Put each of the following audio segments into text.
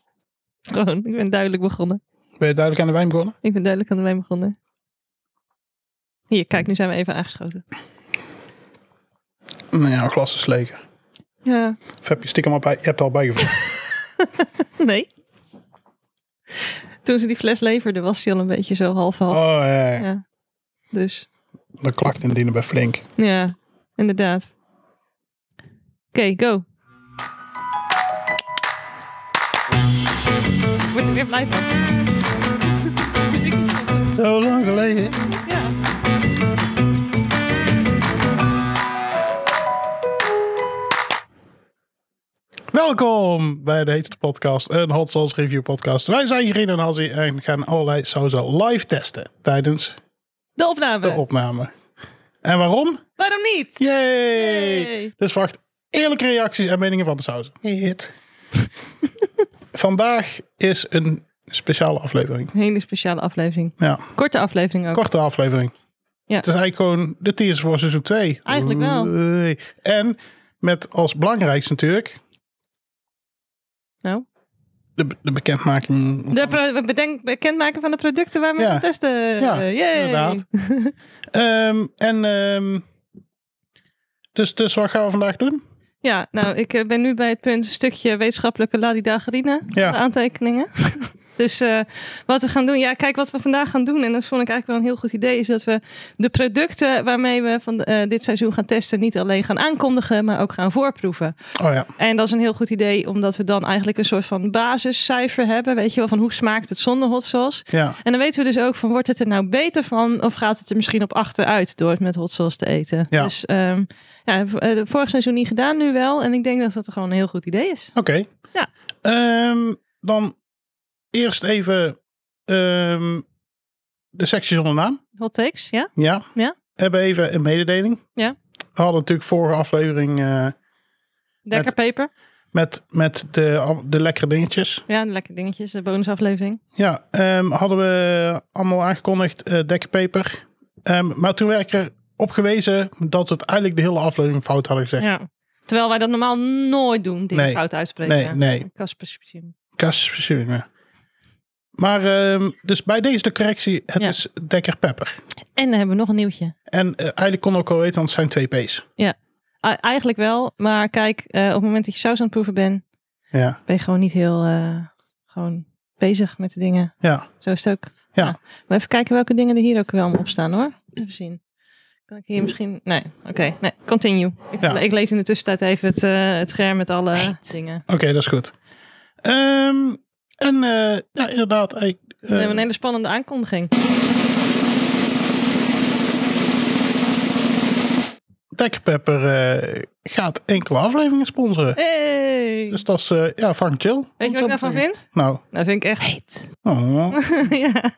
Gewoon, ik ben duidelijk begonnen. Ben je duidelijk aan de wijn begonnen? Ik ben duidelijk aan de wijn begonnen. Hier, kijk, nu zijn we even aangeschoten. Nou ja, een glas is leeg. Ja, Of heb je stiekem al bij, je hebt er al bijgevoegd. nee. Toen ze die fles leverde, was hij al een beetje zo half-half. Oh ja, ja. Ja. Dus, de klacht indienen bij Flink. ja, inderdaad. Oké, go. Ik word er weer blij van. De muziek is stoppen. Zo lang geleden. Ja. Welkom bij de heetste podcast, een Hot Sauce Review podcast. Wij zijn Green en Hazzy en gaan allerlei sauzen live testen tijdens De opname. de opname. En waarom? Waarom niet? Yay! Yay. Dus wacht, eerlijke reacties en meningen van de sauzen. Hit. Vandaag is een speciale aflevering. Een hele speciale aflevering. Ja, Korte aflevering ook. korte aflevering. Ja. Het is eigenlijk gewoon de teaser voor seizoen 2. Eigenlijk wel. En met als belangrijkste natuurlijk Nou. de, de bekendmaking. De pro- bedenk, bekendmaken van de producten waar we Ja. gaan testen. Ja, Eh, yay. inderdaad. Ehm, en ehm, dus, dus wat gaan we vandaag doen? Ja, nou, ik eh, ben nu bij het punt een stukje wetenschappelijke ladidagerine. Ja. de aantekeningen. dus eh, wat we gaan doen, ja, kijk wat we vandaag gaan doen. En dat vond ik eigenlijk wel een heel goed idee. Is dat we de producten waarmee we van eh, dit seizoen gaan testen. niet alleen gaan aankondigen, maar ook gaan voorproeven. Oh ja, En dat is een heel goed idee, omdat we dan eigenlijk een soort van basiscijfer hebben. Weet je wel, van hoe smaakt het zonder hot sauce? ja. En dan weten we dus ook van, wordt het er nou beter van? Of gaat het er misschien op achteruit door het met hot sauce te eten? Ja. Dus ehm, ja, v- eh, vorig seizoen niet gedaan, nu wel. En ik denk dat dat gewoon een heel goed idee is. Oké. Ja. Ehm, dan eerst even ehm, de sectie zonder naam. Hot takes, ja? Ja. Ja. We hebben even een mededeling. Ja. We hadden natuurlijk vorige aflevering eh, Lekker peper. met, met de, de lekkere dingetjes. Ja, de lekker dingetjes, de bonusaflevering. Ja, ehm, hadden we allemaal aangekondigd, eh dekpeper. Ehm, maar toen werd ik erop gewezen dat we het eigenlijk de hele aflevering fout hadden gezegd. Ja. Terwijl wij dat normaal nooit doen, dingen Nee. fout uitspreken. Nee, nee. Kasper Siem. Kas- ja. Maar ehm, dus bij deze de correctie, het Ja. is dekker pepper. En dan hebben we nog een nieuwtje. En eh, eigenlijk kon ook al weten, want het zijn twee P's. Ah, eigenlijk wel, maar kijk, eh, op het moment dat je saus aan het proeven bent, Ja, ben je gewoon niet heel eh, gewoon bezig met de dingen. ja. Zo is het ook. Ja. Maar even kijken welke dingen er hier ook wel allemaal op staan hoor. Even zien. Kan ik hier misschien... Nee, oké. Nee, continue. Ik, Ja. ik lees in de tussentijd even het, eh, het scherm met alle dingen. Oké, dat is goed. Ehm, en eh, ja, inderdaad. Ik, We eh, hebben een hele spannende aankondiging. Dekker Pepper eh, gaat enkele afleveringen sponsoren. Hey! Dus dat is, eh, ja, vang chill. Weet je wat ik daarvan vind? Nou, Nou, vind ik echt... Heet. oh, ja.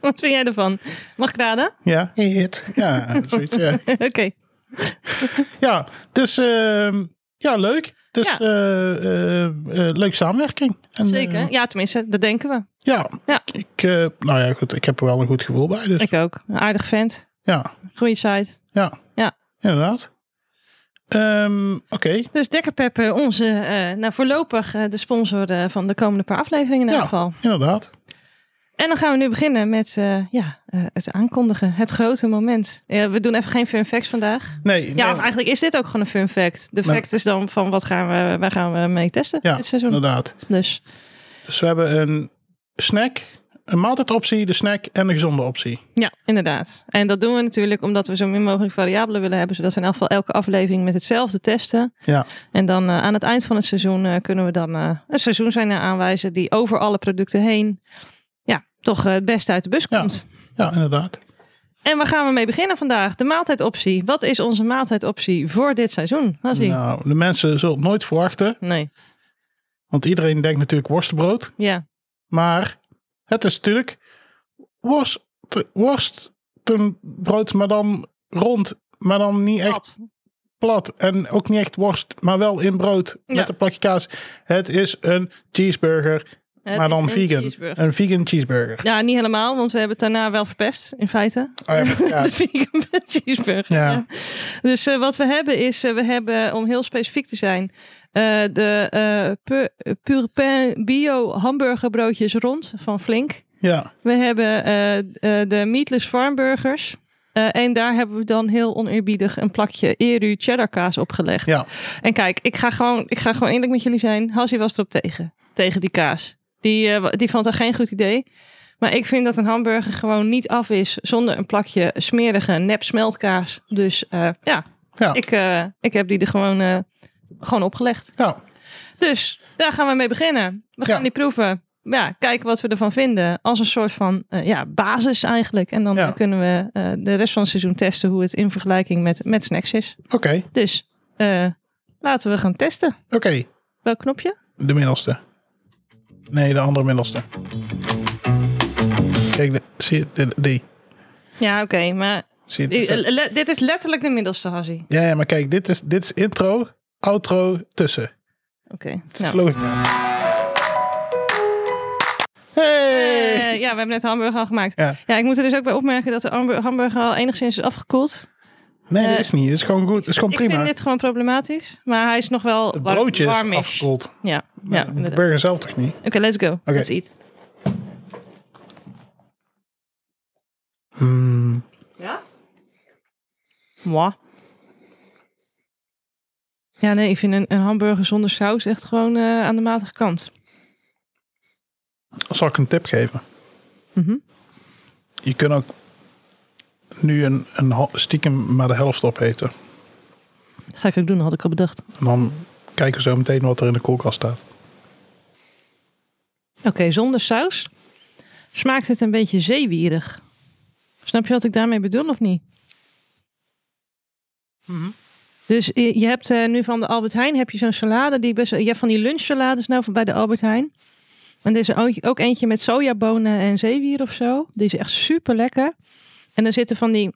wat vind jij ervan? Mag ik raden? ja, hit. Ja, zoiets, ja. Oké. Ja, dus ehm, ja, leuk. Dus Ja. eh, eh, eh, leuke samenwerking. En, eh, Zeker. Ja, tenminste, dat denken we. ja, Ja. Ik, eh, nou ja, goed, ik heb er wel een goed gevoel bij. Dus Ik ook. Een aardig vent. ja, Goeie site. inderdaad. Ehm, Oké, Dus Dekker Pepper, onze, eh, nou voorlopig eh, de sponsor eh, van de komende paar afleveringen in Ja. ieder geval. inderdaad. En dan gaan we nu beginnen met eh, ja, eh, het aankondigen. Het grote moment. Ja, we doen even geen fun facts vandaag. Nee, Ja, nee, of eigenlijk is dit ook gewoon een fun fact. De Nee. fact is dan van wat gaan we, waar gaan we mee testen Ja, dit seizoen. inderdaad. Dus Dus we hebben een snack, een maaltijdoptie, de snack en een gezonde optie. ja, inderdaad. En dat doen we natuurlijk omdat we zo min mogelijk variabelen willen hebben. Zodat we in elk geval elke aflevering met hetzelfde testen. Ja, En dan eh, aan het eind van het seizoen eh, kunnen we dan eh een seizoenswijner aanwijzen die over alle producten heen ja, toch eh, het beste uit de bus Ja. komt. ja inderdaad. En waar gaan we mee beginnen vandaag? De maaltijdoptie. Wat is onze maaltijdoptie voor dit seizoen? Hassie? Nou, de mensen zullen het nooit verwachten, Nee, want iedereen denkt natuurlijk worstenbrood. ja. Maar het is natuurlijk worst, worstenbrood, maar dan rond, maar dan niet echt Wat? plat. En ook niet echt worst, maar wel in brood Ja. met een plakje kaas. Het is een cheeseburger Het maar is dan een vegan. cheeseburger. Een vegan cheeseburger. Ja, niet helemaal, want we hebben het daarna wel verpest, in feite. Oh, ja, ja. De vegan cheeseburger. Ja. ja. Dus eh, wat we hebben is, eh, we hebben, om heel specifiek te zijn, eh, de eh pu- eh, Pure Pain Bio hamburgerbroodjes rond van Flink. ja. We hebben eh, eh, de Meatless Farmburgers. Eh, en daar hebben we dan heel oneerbiedig een plakje Eru cheddar kaas opgelegd. Ja. En kijk, ik ga, gewoon, ik ga gewoon eerlijk met jullie zijn. Hassie was erop tegen. Tegen die kaas. Die, eh, wa- die vond dat geen goed idee. Maar ik vind dat een hamburger gewoon niet af is zonder een plakje smerige nep smeltkaas. Dus eh, ja, Ja. Ik, eh, ik heb die er gewoon, eh, gewoon opgelegd. Ja. Dus daar gaan we mee beginnen. We Ja. gaan die proeven. Ja, kijken wat we ervan vinden. Als een soort van eh, ja, basis eigenlijk. En dan Ja. kunnen we eh, de rest van het seizoen testen hoe het in vergelijking met, met snacks is. Oké, Dus eh, laten we gaan testen. oké. Welk knopje? De middelste. Nee, de andere middelste. Kijk, de, zie je, de- die. Ja, oké. maar eh, Zie je, het is dat- dit is letterlijk de middelste, Hassie. ja, ja, maar kijk, dit is, dit is intro, outro, tussen. Oké. Nou. Het is logica. Hey! Eh, ja, we hebben net de hamburger al gemaakt. Ja. Ja. ik moet er dus ook bij opmerken dat de hamburger, hamburger al enigszins is afgekoeld. Nee, dat eh, is niet. Het is gewoon goed. Het is gewoon Ik prima. vind dit gewoon problematisch. Maar hij is nog wel Het war- broodje is warmish. afgekoeld. Ja, ja Ja, de inderdaad. burger zelf toch niet? Oké, let's go. Let's eat. Hmm. Ja? Moi. Ja, nee, ik vind een, een hamburger zonder saus echt gewoon eh, aan de matige kant. Zal ik een tip geven? Mhm. Je kunt ook nu een, een hal- stiekem maar de helft opeten. Dat ga ik ook doen, had ik al bedacht. En dan kijken we zo meteen wat er in de koelkast staat. Oké, zonder saus smaakt het een beetje zeewierig. Snap je wat ik daarmee bedoel of niet? Dus eh, je hebt eh, nu van de Albert Heijn heb je zo'n salade die best. Je hebt van die lunchsalades nou van bij de Albert Heijn. En er is er ook- ook eentje met sojabonen en zeewier of zo. Die is echt super lekker. En er zitten van die,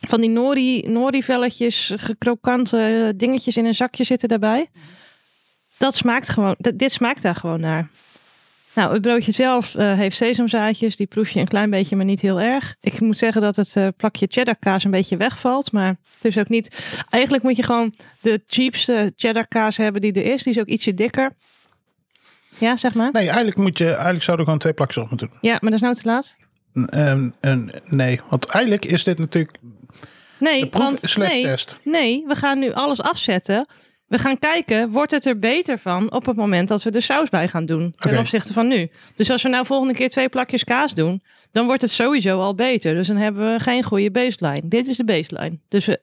van die nori, nori-velletjes, gekrokante dingetjes in een zakje zitten daarbij. Dat smaakt gewoon, dat- dit smaakt daar gewoon naar. Nou, het broodje zelf eh, heeft sesamzaadjes. Die proef je een klein beetje, maar niet heel erg. Ik moet zeggen dat het eh, plakje cheddar kaas een beetje wegvalt. Maar het is ook niet... Eigenlijk moet je gewoon de cheapste cheddar kaas hebben die er is. Die is ook ietsje dikker. Ja, zeg maar. Nee, eigenlijk, moet je, eigenlijk zouden we gewoon twee plakjes op moeten doen. Ja, maar dat is nou te laat. N- ehm, een- nee, want eigenlijk is dit natuurlijk Nee, de proef want, slash nee, test. Nee, we gaan nu alles afzetten. We gaan kijken, wordt het er beter van op het moment dat we er saus bij gaan doen. Ten Oké. opzichte van nu. Dus als we nou volgende keer twee plakjes kaas doen, dan wordt het sowieso al beter. Dus dan hebben we geen goede baseline. Dit is de baseline. Dus we,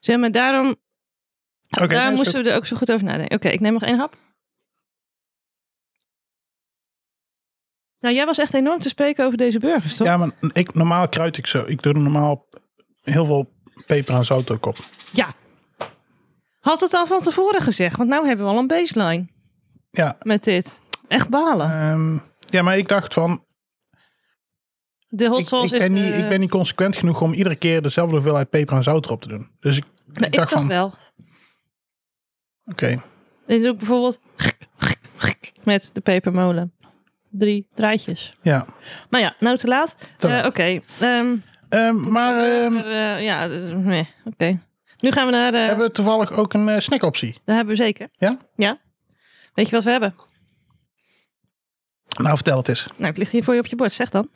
zeg maar, daarom Oké, nee, daar is moesten goed. we er ook zo goed over nadenken. Oké, ik neem nog één hap. Nou, jij was echt enorm te spreken over deze burgers, toch? Ja, maar ik, normaal kruid ik zo. Ik doe er normaal heel veel peper en zout ook op. Ja. Had het al van tevoren gezegd, want nu hebben we al een baseline Ja, met dit. Echt balen. ehm, ja maar ik dacht van, De hot ik, ik, sauce ben is, niet, eh, ik ben niet consequent genoeg om iedere keer dezelfde hoeveelheid peper en zout erop te doen. Dus ik, ik maar ik dacht dacht van, oké, wel. Dit is ook bijvoorbeeld met de pepermolen. Drie draadjes. ja. Maar ja, nou te laat. Te Eh, laat. Oké. Ehm, Ehm, maar ehm, maar, eh, ja, eh, nee, oké. Nu gaan we naar... eh, hebben we toevallig ook een eh, snackoptie? Dat hebben we zeker. Ja? Ja. Weet je wat we hebben? Nou, vertel het eens. Nou, het ligt hier voor je op je bord. Zeg dan.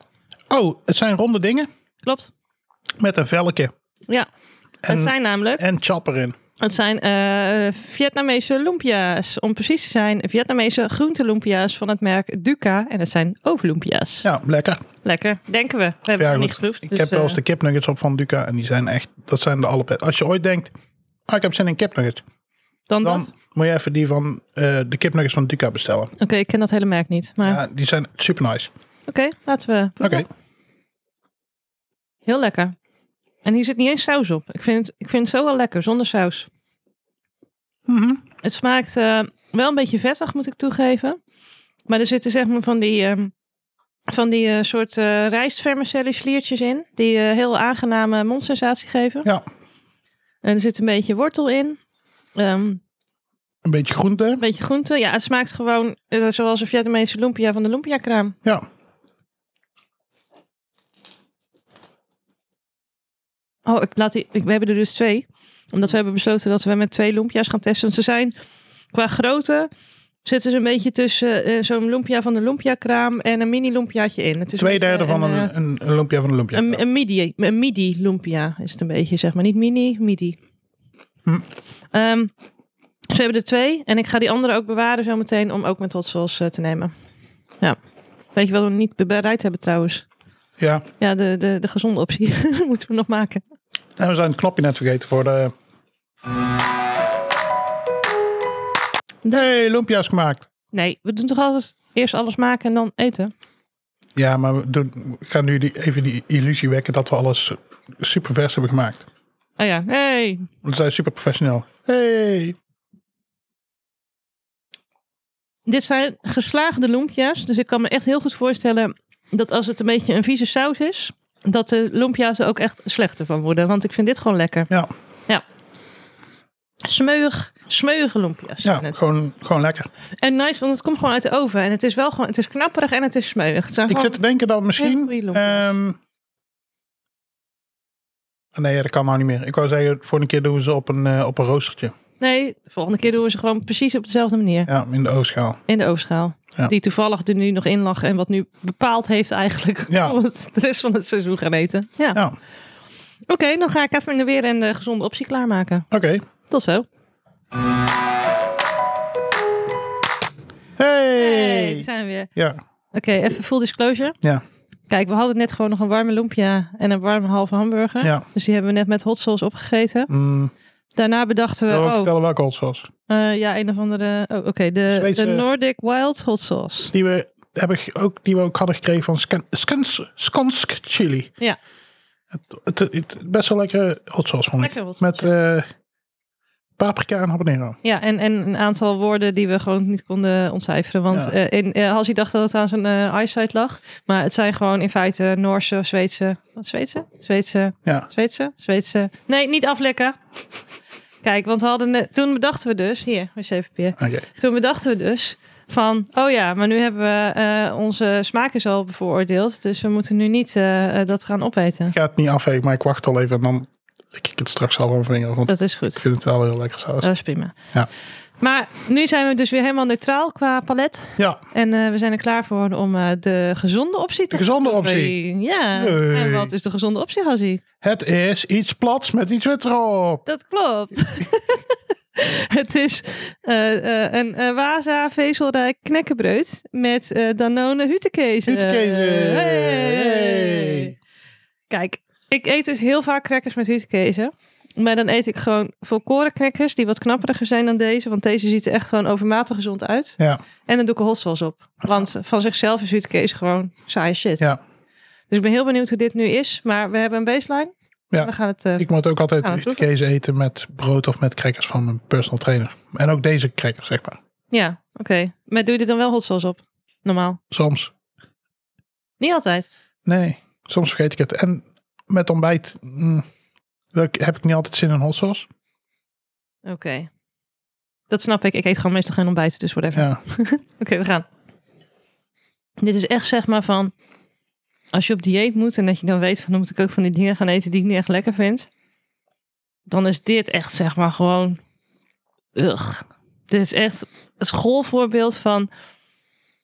Oh, het zijn ronde dingen Klopt. met een velkje Ja. En- het zijn namelijk, en chap erin. het zijn eh, Vietnamese lumpia's. Om precies te zijn, Vietnamese groente lumpia's van het merk Duca. En het zijn overlumpia's. Ja, lekker. Lekker, denken we. We hebben Ja, het nog goed. niet geproefd. Ik dus, heb wel eens eh, de kipnuggets op van Duca en die zijn echt, dat zijn de allerbeste. Als je ooit denkt, ah, ik heb zin in kipnuggets, dan dan dat. moet je even die van eh, de kipnuggets van Duca bestellen. Oké, ik ken dat hele merk niet. Maar Ja, die zijn super nice. oké, laten we. Oké, proeven. Heel lekker. En hier zit niet eens saus op. Ik vind, ik vind het zo wel lekker, zonder saus. Mhm. Het smaakt eh, wel een beetje vettig, moet ik toegeven. Maar er zitten zeg maar van die, ehm, van die eh, soort eh rijstvermicelli sliertjes in. Die eh, heel aangename mondsensatie geven. ja, En er zit een beetje wortel in. Ehm, Een beetje groente. Een beetje groente. Ja, het smaakt gewoon eh, zoals een Vietnamese lumpia van de lumpia kraam. Ja. Oh, ik laat die, ik, we hebben er dus twee. Omdat we hebben besloten dat we met twee lumpia's gaan testen. Want ze zijn qua grootte zitten ze een beetje tussen eh, zo'n lumpia van de lumpia kraam en een mini lumpiaatje in. Het is Twee een beetje derde van een, eh, een, een, lumpia van een lumpia. Een, een midi, een midi lumpia is het een beetje, zeg maar. Niet mini, midi. Hm. Ehm, dus we hebben er twee. En ik ga die andere ook bewaren zometeen om ook met hot sauce eh, te nemen. Ja. Weet je wat we niet bereid hebben trouwens? ja. Ja, de, de, de gezonde optie moeten we nog maken. En we zijn het knopje net vergeten voor de... Hey, lumpia's gemaakt. Nee, we doen toch altijd eerst alles maken en dan eten? Ja, maar we, doen, we gaan nu die, even die illusie wekken dat we alles super vers hebben gemaakt. Oh ja, hey. We zijn super professioneel. Hey. Dit zijn geslaagde loempja's. Dus ik kan me echt heel goed voorstellen dat als het een beetje een vieze saus is, dat de loempja's er ook echt slechter van worden. Want ik vind dit gewoon lekker. Ja, Smeuig, smeuige loempja's. zijn ja het. gewoon, gewoon lekker. En nice, want het komt gewoon uit de oven. En het is wel gewoon, het is knapperig en het is smeuig. Het zijn Ik gewoon- zit te denken dat Hele misschien... goeie loempia. ehm nee, dat kan nou niet meer. Ik wou zeggen, voor een keer doen we ze op een, eh, op een roostertje. Nee, de volgende keer doen we ze gewoon precies op dezelfde manier. Ja, in de oogschaal. In de ovenschaal. Ja. Die toevallig er nu nog in lag en wat nu bepaald heeft eigenlijk. Ja. Hoe we het de rest van het seizoen gaan eten. Ja. Ja, Oké, dan ga ik even in de weer een eh, gezonde optie klaarmaken. oké. Tot zo. Hey. daar zijn we weer. Ja, Oké, even full disclosure. ja, Kijk, we hadden net gewoon nog een warme lumpia en een warme halve hamburger. ja. Dus die hebben we net met hot sauce opgegeten. Mm, Daarna bedachten we... wil ik Eh, oh, vertellen welke hot sauce. Eh, ja, een of andere. Oh, oké. De, Zweedse- de Nordic Wild Hot Sauce. Die we, heb ik ook, die we ook hadden gekregen van Skan- Skans- Skansk Chili. Ja. Het, het, het- best wel lekkere hot sauce vond ik. Lekker hot sauce, Met eh, paprika en habanero. Ja, en, en een aantal woorden die we gewoon niet konden ontcijferen. Want Ja. eh in, eh, Halsey dacht dat het aan zijn eh, eyesight lag. Maar het zijn gewoon in feite Noorse, Zweedse. Wat Zweedse? Zweedse. Ja. Zweedse? Zweedse. Nee, niet aflekken. Kijk, want we hadden. net- toen bedachten we dus. Hier, was even papier. Oké. Toen bedachten we dus van, oh ja, maar nu hebben we eh, onze smaak is al bevooroordeeld. Dus we moeten nu niet eh, eh, dat gaan opeten. Ik ga het niet afwegen, maar ik wacht al even en dan lik ik het straks al van mijn vinger. Want Dat is goed. ik vind het wel heel lekker saus. Dat is prima. Ja. Maar nu zijn we dus weer helemaal neutraal qua palet. ja, En eh, we zijn er klaar voor om eh, de gezonde optie te de gezonde optie. optie. Ja. Hey. En wat is de gezonde optie, Hazzy? Het is iets plats met iets wit erop. Dat klopt. Het is eh, eh, een eh, Waza vezelrijk knekkenbreud met eh, Danone hutekees. Hutekezen. Eh, Hey. Kijk, ik eet dus heel vaak crackers met hutekezen. Maar dan eet ik gewoon volkoren crackers die wat knapperiger zijn dan deze. Want deze ziet er echt gewoon overmatig gezond uit. Ja, En dan doe ik er hot sauce op. Want van zichzelf is hutekees gewoon saaie shit. Ja. Dus ik ben heel benieuwd hoe dit nu is. Maar we hebben een baseline. Ja. We gaan het... eh, ik moet ook altijd Ah, ah, eten met brood of met crackers van mijn personal trainer. En ook deze crackers, zeg maar. Ja, oké. Maar doe je er dan wel hot sauce op? Normaal. Soms. Niet altijd. Nee, soms vergeet ik het. En met ontbijt mm, dan heb ik niet altijd zin in hot sauce. Oké. Dat snap ik. Ik eet gewoon meestal geen ontbijt, dus whatever. Ja, Oké, we gaan. Dit is echt zeg maar van... Als je op dieet moet en dat je dan weet van... dan moet ik ook van die dingen gaan eten die ik niet echt lekker vind. Dan is dit echt zeg maar gewoon... Ugh. Dit is echt een schoolvoorbeeld van...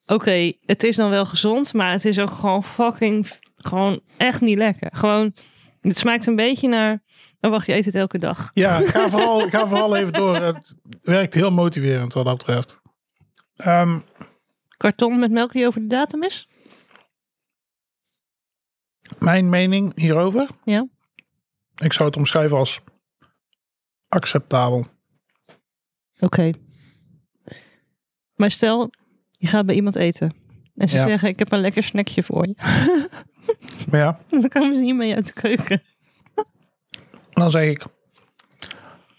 Oké, het is dan wel gezond, maar het is ook gewoon fucking... Gewoon echt niet lekker. Gewoon, het smaakt een beetje naar... Oh wacht, je eet het elke dag. ja ga, vooral, ga vooral even door. Het werkt heel motiverend wat dat betreft. Ehm, Karton met melk die over de datum is? mijn mening hierover. Ja. Ik zou het omschrijven als acceptabel. Oké. Maar stel, je gaat bij iemand eten. En ze Ja. zeggen, ik heb een lekker snackje voor je. Maar ja, Dan komen ze niet mee uit de keuken. dan zeg ik...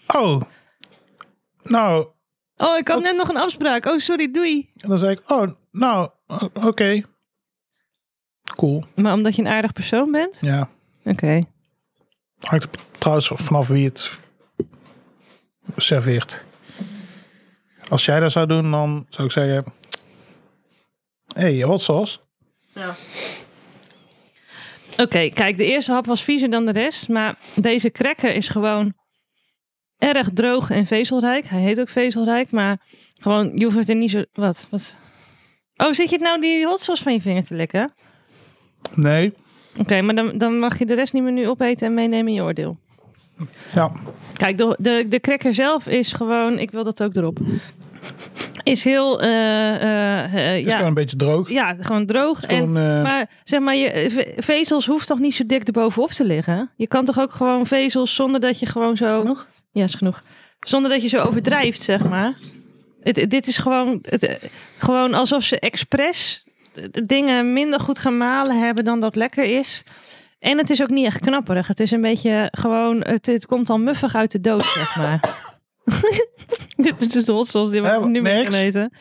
Oh, nou, Oh, ik had net nog een afspraak. Oh, sorry, doei. En dan zei ik, oh, nou, o- oké. Cool, Maar omdat je een aardig persoon bent? ja. Oké. Hangt er trouwens vanaf wie het serveert. Als jij dat zou doen, dan zou ik zeggen... hey, hot sauce. Oké, kijk, de eerste hap was viezer dan de rest. Maar deze cracker is gewoon erg droog en vezelrijk. Hij heet ook vezelrijk, maar gewoon, je hoeft er niet zo... Wat? wat? Oh, zit je nou die hot sauce van je vinger te likken? Nee. Oké, maar dan, dan mag je de rest niet meer nu opeten en meenemen in je oordeel. Ja. Kijk, de, de, de cracker zelf is gewoon, ik wil dat ook erop. Is heel, eh, eh, eh, Is ja, gewoon een beetje droog. ja, gewoon droog. En, Gewoon, eh, maar zeg maar, je, eh, ve- vezels hoeft toch niet zo dik erbovenop te liggen? Je kan toch ook gewoon vezels zonder dat je gewoon zo... Genoeg? Ja, is genoeg. Zonder dat je zo overdrijft, zeg maar. Het, dit is gewoon, het, eh, gewoon alsof ze expres de- de dingen minder goed gemalen hebben dan dat lekker is. En het is ook niet echt knapperig. Het is een beetje gewoon, het, het komt al muffig uit de doos, zeg maar. dit is dus de hot sauce die we Eh, nu meer next. gaan eten.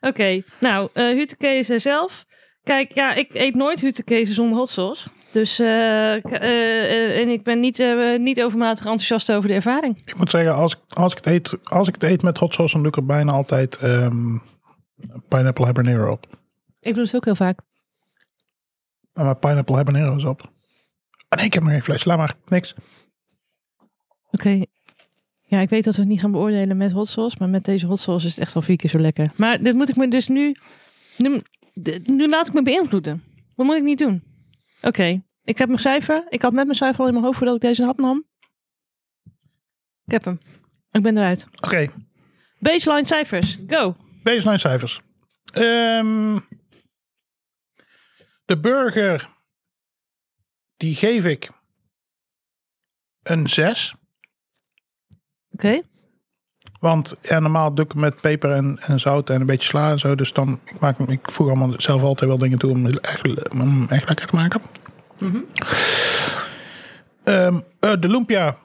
Oké, nou, eh hutekezen zelf. Kijk, ja, ik eet nooit hutekezen zonder hot sauce. Dus, eh, k- eh, eh, en ik ben niet, eh, niet overmatig enthousiast over de ervaring. Ik moet zeggen, als, ik- als, ik het eet, als ik het eet met hot sauce, dan doe ik er bijna altijd ehm, pineapple habanero op. Ik doe het ook heel vaak. Maar mijn Eh, pineapple habanero's op. Ah, nee, ik heb nog geen fles. Laat maar. Niks. Oké. Ja, ik weet dat we het niet gaan beoordelen met hot sauce. Maar met deze hot sauce is het echt al vier keer zo lekker. Maar dit moet ik me dus nu... Nu, dit- nu laat ik me beïnvloeden. Dat moet ik niet doen. Oké. Ik heb mijn cijfer. Ik had net mijn cijfer al in mijn hoofd voordat ik deze hap nam. Ik heb hem. Ik ben eruit. Oké, Baseline cijfers. Go. baseline cijfers. Ehm, de burger, die geef ik een 6. Oké. Want ja, normaal doe ik hem met peper en, en zout en een beetje sla en zo. Dus dan, ik, maak, hem- ik voeg allemaal zelf altijd wel dingen toe om hem echt, om hem echt lekker te maken. Ehm, eh, de lumpia,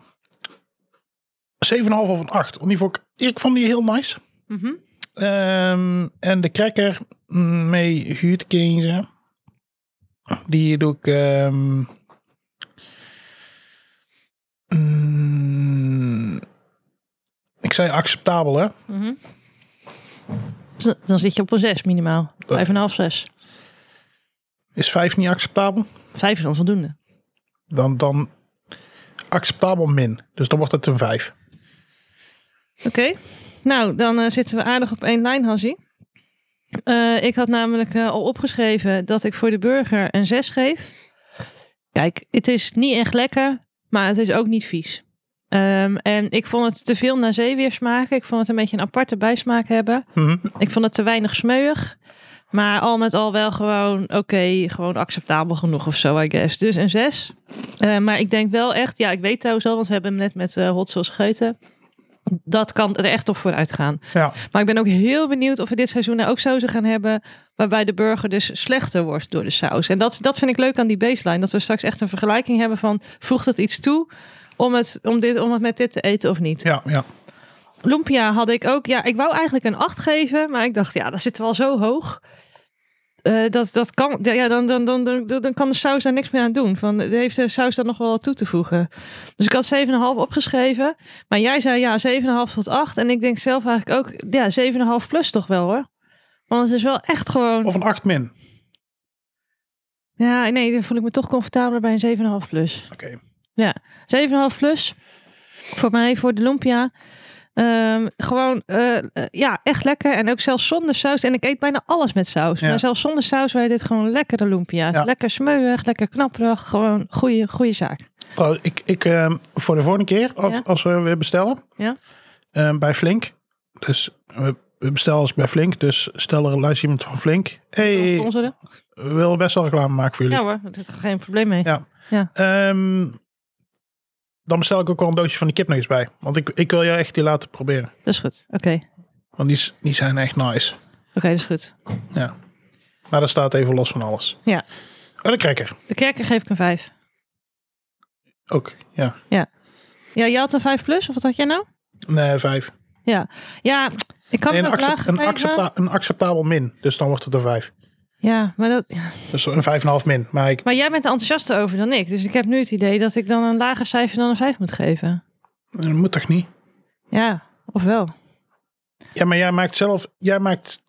7,5 of een 8. Want die vond ik, ik vond die heel nice. Mhm. Ehm, en de cracker mm, mee huurtkezen. Die doe ik... ehm, mm, ik zei acceptabel, hè? Mhm. Z- Dan zit je op een 6 minimaal. 5,5, 6. Is 5 niet acceptabel? 5 is onvoldoende. Dan, dan acceptabel min. Dus dan wordt het een 5. Oké. Nou, dan eh, zitten we aardig op één lijn, Hansie. Eh, ik had namelijk eh, al opgeschreven dat ik voor de burger een 6 geef. Kijk, het is niet echt lekker, maar het is ook niet vies. Ehm, en ik vond het te veel naar zeeweer smaken. Ik vond het een beetje een aparte bijsmaak hebben. Ik vond het te weinig smeuig. Maar al met al wel gewoon oké, gewoon acceptabel genoeg of zo, I guess. Dus een 6. maar ik denk wel echt, ja, ik weet trouwens al, want we hebben hem net met eh, hot sauce gegeten. Dat kan er echt op vooruit gaan. Ja, Maar ik ben ook heel benieuwd of we dit seizoen nou ook sauzen gaan hebben. Waarbij de burger dus slechter wordt door de saus. En dat, dat vind ik leuk aan die baseline. Dat we straks echt een vergelijking hebben van voegt het iets toe om het, om dit, om het met dit te eten of niet. ja, ja. Lumpia had ik ook. Ja, ik wou eigenlijk een 8 geven, maar ik dacht, ja, dat zit wel zo hoog. Eh, dat, dat kan, ja, dan, dan, dan, dan, dan kan de saus daar niks meer aan doen. Van, heeft de saus daar nog wel wat toe te voegen? Dus ik had 7,5 opgeschreven. Maar jij zei ja, 7,5 tot 8. En ik denk zelf eigenlijk ook, ja, 7,5 plus toch wel hoor. Want het is wel echt gewoon. Of een 8 min. Ja, nee, dan voel ik me toch comfortabeler bij een 7,5 plus. Oké. 7,5 plus. Voor mij, voor de lumpia. Ehm, gewoon, eh, eh, ja, echt lekker. En ook zelfs zonder saus. En ik eet bijna alles met saus. Ja. Maar zelfs zonder saus werd dit gewoon lekkere lumpia. Ja. Lekker smeuig, lekker knapperig. Gewoon goede, goede zaak. Trouwens, ik, ik ehm, voor de volgende keer, als, Ja. als we weer bestellen, Ja. ehm, bij Flink. Dus we, we bestellen als bij Flink. Dus stel er luister iemand van Flink. hey, Sponsoren? we willen best wel reclame maken voor jullie. Ja hoor, daar is geen probleem mee. Ja. Ehm, dan bestel ik ook wel een doosje van die kipnuggets bij. Want ik, ik wil jou echt die laten proberen. Dat is goed. Oké, Want die, s- die zijn echt nice. oké, dat is goed. Ja. Maar dat staat even los van alles. Ja. En de cracker De kerker geef ik een 5. ook. Ja. Ja, jij had een 5 plus? Of wat had jij nou? Nee, vijf. Ja, ik had Nee, het ook een, accep- laag een, gegeven. accepta- een acceptabel min. Dus dan wordt het een vijf. Ja, maar dat, Dus een vijf en een half min. Maar ik, Maar jij bent er enthousiaster over dan ik. Dus ik heb nu het idee dat ik dan een lager cijfer dan een 5 moet geven. dat moet toch niet? Ja, of wel? Ja, maar jij maakt zelf, jij maakt,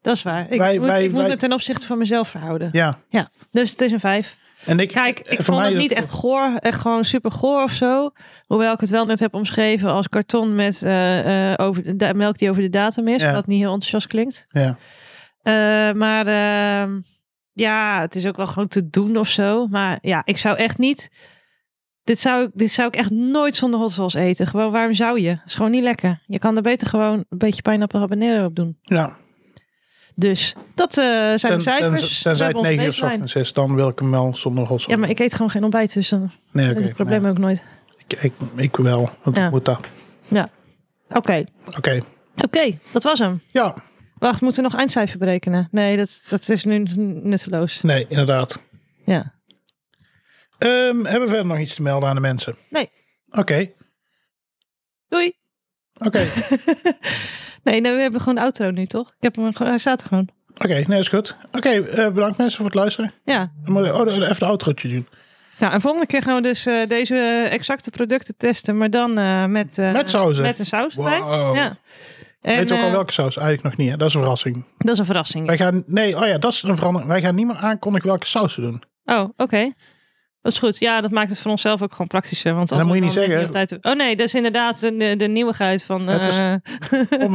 Dat is waar. Ik, Wij- moet, wij- ik moet wij- me ten opzichte van mezelf verhouden. ja. Dus het is een vijf. En ik, eh, Kijk, ik voor vond mij het is niet echt goor, echt gewoon super goor of zo. Hoewel ik het wel net heb omschreven als karton met eh, eh, over de da- melk die over de datum is. Ja. Wat niet heel enthousiast klinkt. Ja. Eh, maar ehm, ja, het is ook wel gewoon te doen of zo. Maar ja, ik zou echt niet... Dit zou, ik- dit zou ik echt nooit zonder hot sauce eten. Gewoon, waarom zou je? Het is gewoon niet lekker. Je kan er beter gewoon een beetje pijnappel habanero op doen. ja, Dus dat eh, zijn ten, de ten, cijfers. We tenzij het hebben onze 9 uur 's baseline. ochtends is, dan wil ik hem wel zonder rotsel. Ja, maar ik eet gewoon geen ontbijt, dus dan nee, heb oké, nou ik het probleem nee. ook nooit. Ik, ik, ik wel, want Ja. ik moet dat. Oké, Oké, oké, dat was hem. ja, Wacht, moeten we nog eindcijfer berekenen? Nee, dat, dat is nu nutteloos. nee, inderdaad. Ja. Ehm, hebben we verder nog iets te melden aan de mensen? Nee. Oké, Doei. oké, oké, Nee, nou, we hebben gewoon de outro nu, toch? Ik heb hem gewoon, hij staat er gewoon. nee, is goed. Oké, eh, bedankt mensen voor het luisteren. Ja. Dan moet ik- Oh, even de outrootje doen. Nou, en volgende keer gaan we dus eh, deze eh, exacte producten testen, maar dan eh, met, eh, Met sauzen. Met een saus erbij. Wow. Ja. En, Weet je ook al eh, welke saus? Eigenlijk nog niet, hè? Dat is een verrassing. Dat is een verrassing. Wij gaan, nee, oh ja, dat is een verandering. Wij gaan niet meer aankondigen welke saus we doen. Oh, oké. Dat is goed. Ja, dat maakt het voor onszelf ook gewoon praktischer. Want En dan moet je anders niet dan zeggen. ben je op tijd- Oh nee, dat is inderdaad de, de, de nieuwigheid van... Dat is- eh, Om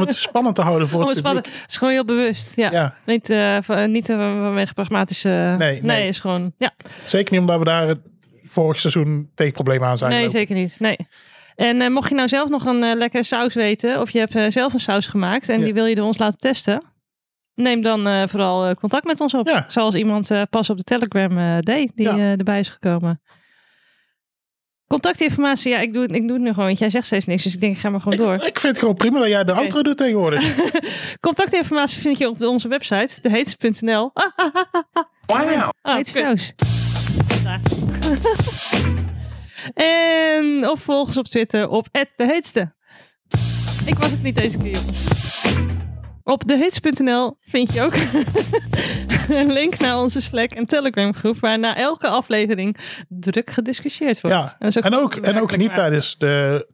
het spannend te houden voor om het het spannen- publiek. Het is gewoon heel bewust. Ja. Ja, Niet, eh, van- eh, niet eh, vanwege pragmatische... nee. is gewoon... Ja, zeker niet omdat we daar het vorig seizoen tegen problemen aan zijn nee, gelopen. zeker niet. Nee. En eh, mocht je nou zelf nog een eh, lekkere saus weten... of je hebt eh, zelf een saus gemaakt... en Ja. die wil je door ons laten testen... neem dan eh, vooral eh, contact met ons op. Ja. Zoals iemand eh, pas op de Telegram eh, deed... die Ja. eh, erbij is gekomen. Contactinformatie, ja, ik doe, het- ik doe het nu gewoon. Want jij zegt steeds niks, dus ik denk, ik ga maar gewoon door. Ik, ik vind het gewoon prima dat jij de outro doet tegenwoordig. Contactinformatie vind je op onze website, deheets.nl. Ah, ah, ah, ah, ah. Ah, het is saus. Daar. en of volg ons op Twitter op @deheetste. Ik was het niet deze keer, jongens. Op deheets.nl vind je ook een link naar onze Slack en Telegram groep, waar na elke aflevering druk gediscussieerd wordt. Ja. Dat is En ook, en ook werkelijk niet waar. tijdens de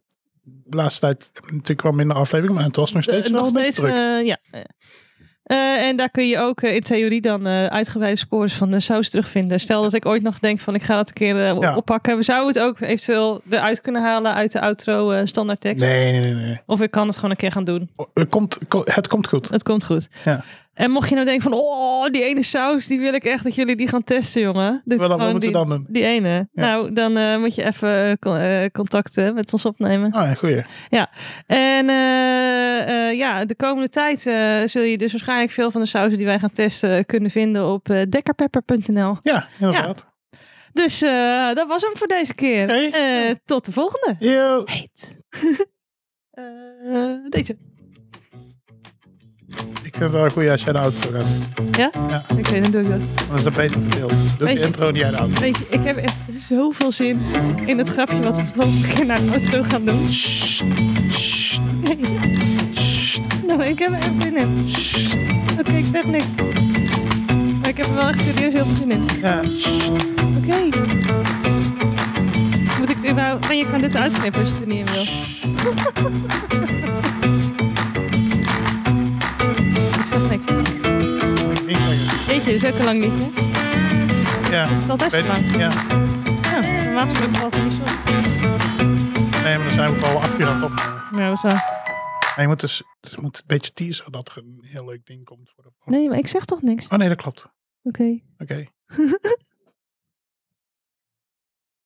laatste tijd. Natuurlijk wel minder afleveringen, maar het was nog steeds Eh, wel nog een beetje steeds, druk. eh, ja. Eh, en daar kun je ook eh, in theorie dan eh, uitgebreide scores van de saus terugvinden. Stel dat ik ooit nog denk van ik ga dat een keer eh, Ja. oppakken. We zouden het ook eventueel eruit kunnen halen uit de outro eh standaard tekst. Nee, nee, nee. nee. Of ik kan het gewoon een keer gaan doen. Oh, Het, komt, ko- het komt goed. Het komt goed. Ja. En mocht je nou denken van oh die ene saus die wil ik echt dat jullie die gaan testen jongen. Dit is Wat, dan- wat gewoon moeten die, we dan doen? die ene. Ja. Nou dan eh, moet je even eh, con- eh, contact eh, met ons opnemen. Ah, ja, goeie. En eh, eh, ja, de komende tijd eh, zul je dus waarschijnlijk veel van de sauzen die wij gaan testen kunnen vinden op eh dekkerpepper.nl. Ja, inderdaad. Dus eh, dat was hem voor deze keer. Oké. Eh, tot de volgende. Yo. Heet. Eh, deze. Ik vind het wel goed als jij de outro gaat. Ja? Ja. Oké, dan doe ik dat. Dan Oh, is dat beter verdeeld. Doe Weet de je- intro en jij de outro. Weet je, ik heb echt zoveel zin in het grapje wat we de volgende keer naar de auto gaan doen. Nou, ik heb er echt zin in. Oké, ik zeg niks. Maar ik heb er wel echt serieus heel veel zin in. Ja. Oké. Moet ik het überhaupt... Maar je kan dit uitknippen als je het er niet in wil. ik zeg niks. Weet je, is ook al lang niet, hè? Ja. Is het altijd zo Weet lang? ik. Ja. Ja, normaal gesproken valt het niet zo. op. Nee, maar dan zijn we al acht uur aan het op. Ja, dat is waar. Maar je moet dus, het moet een beetje teasen dat er een heel leuk ding komt voor de Nee, maar ik zeg toch niks? Oh nee, dat klopt. Oké. Oké.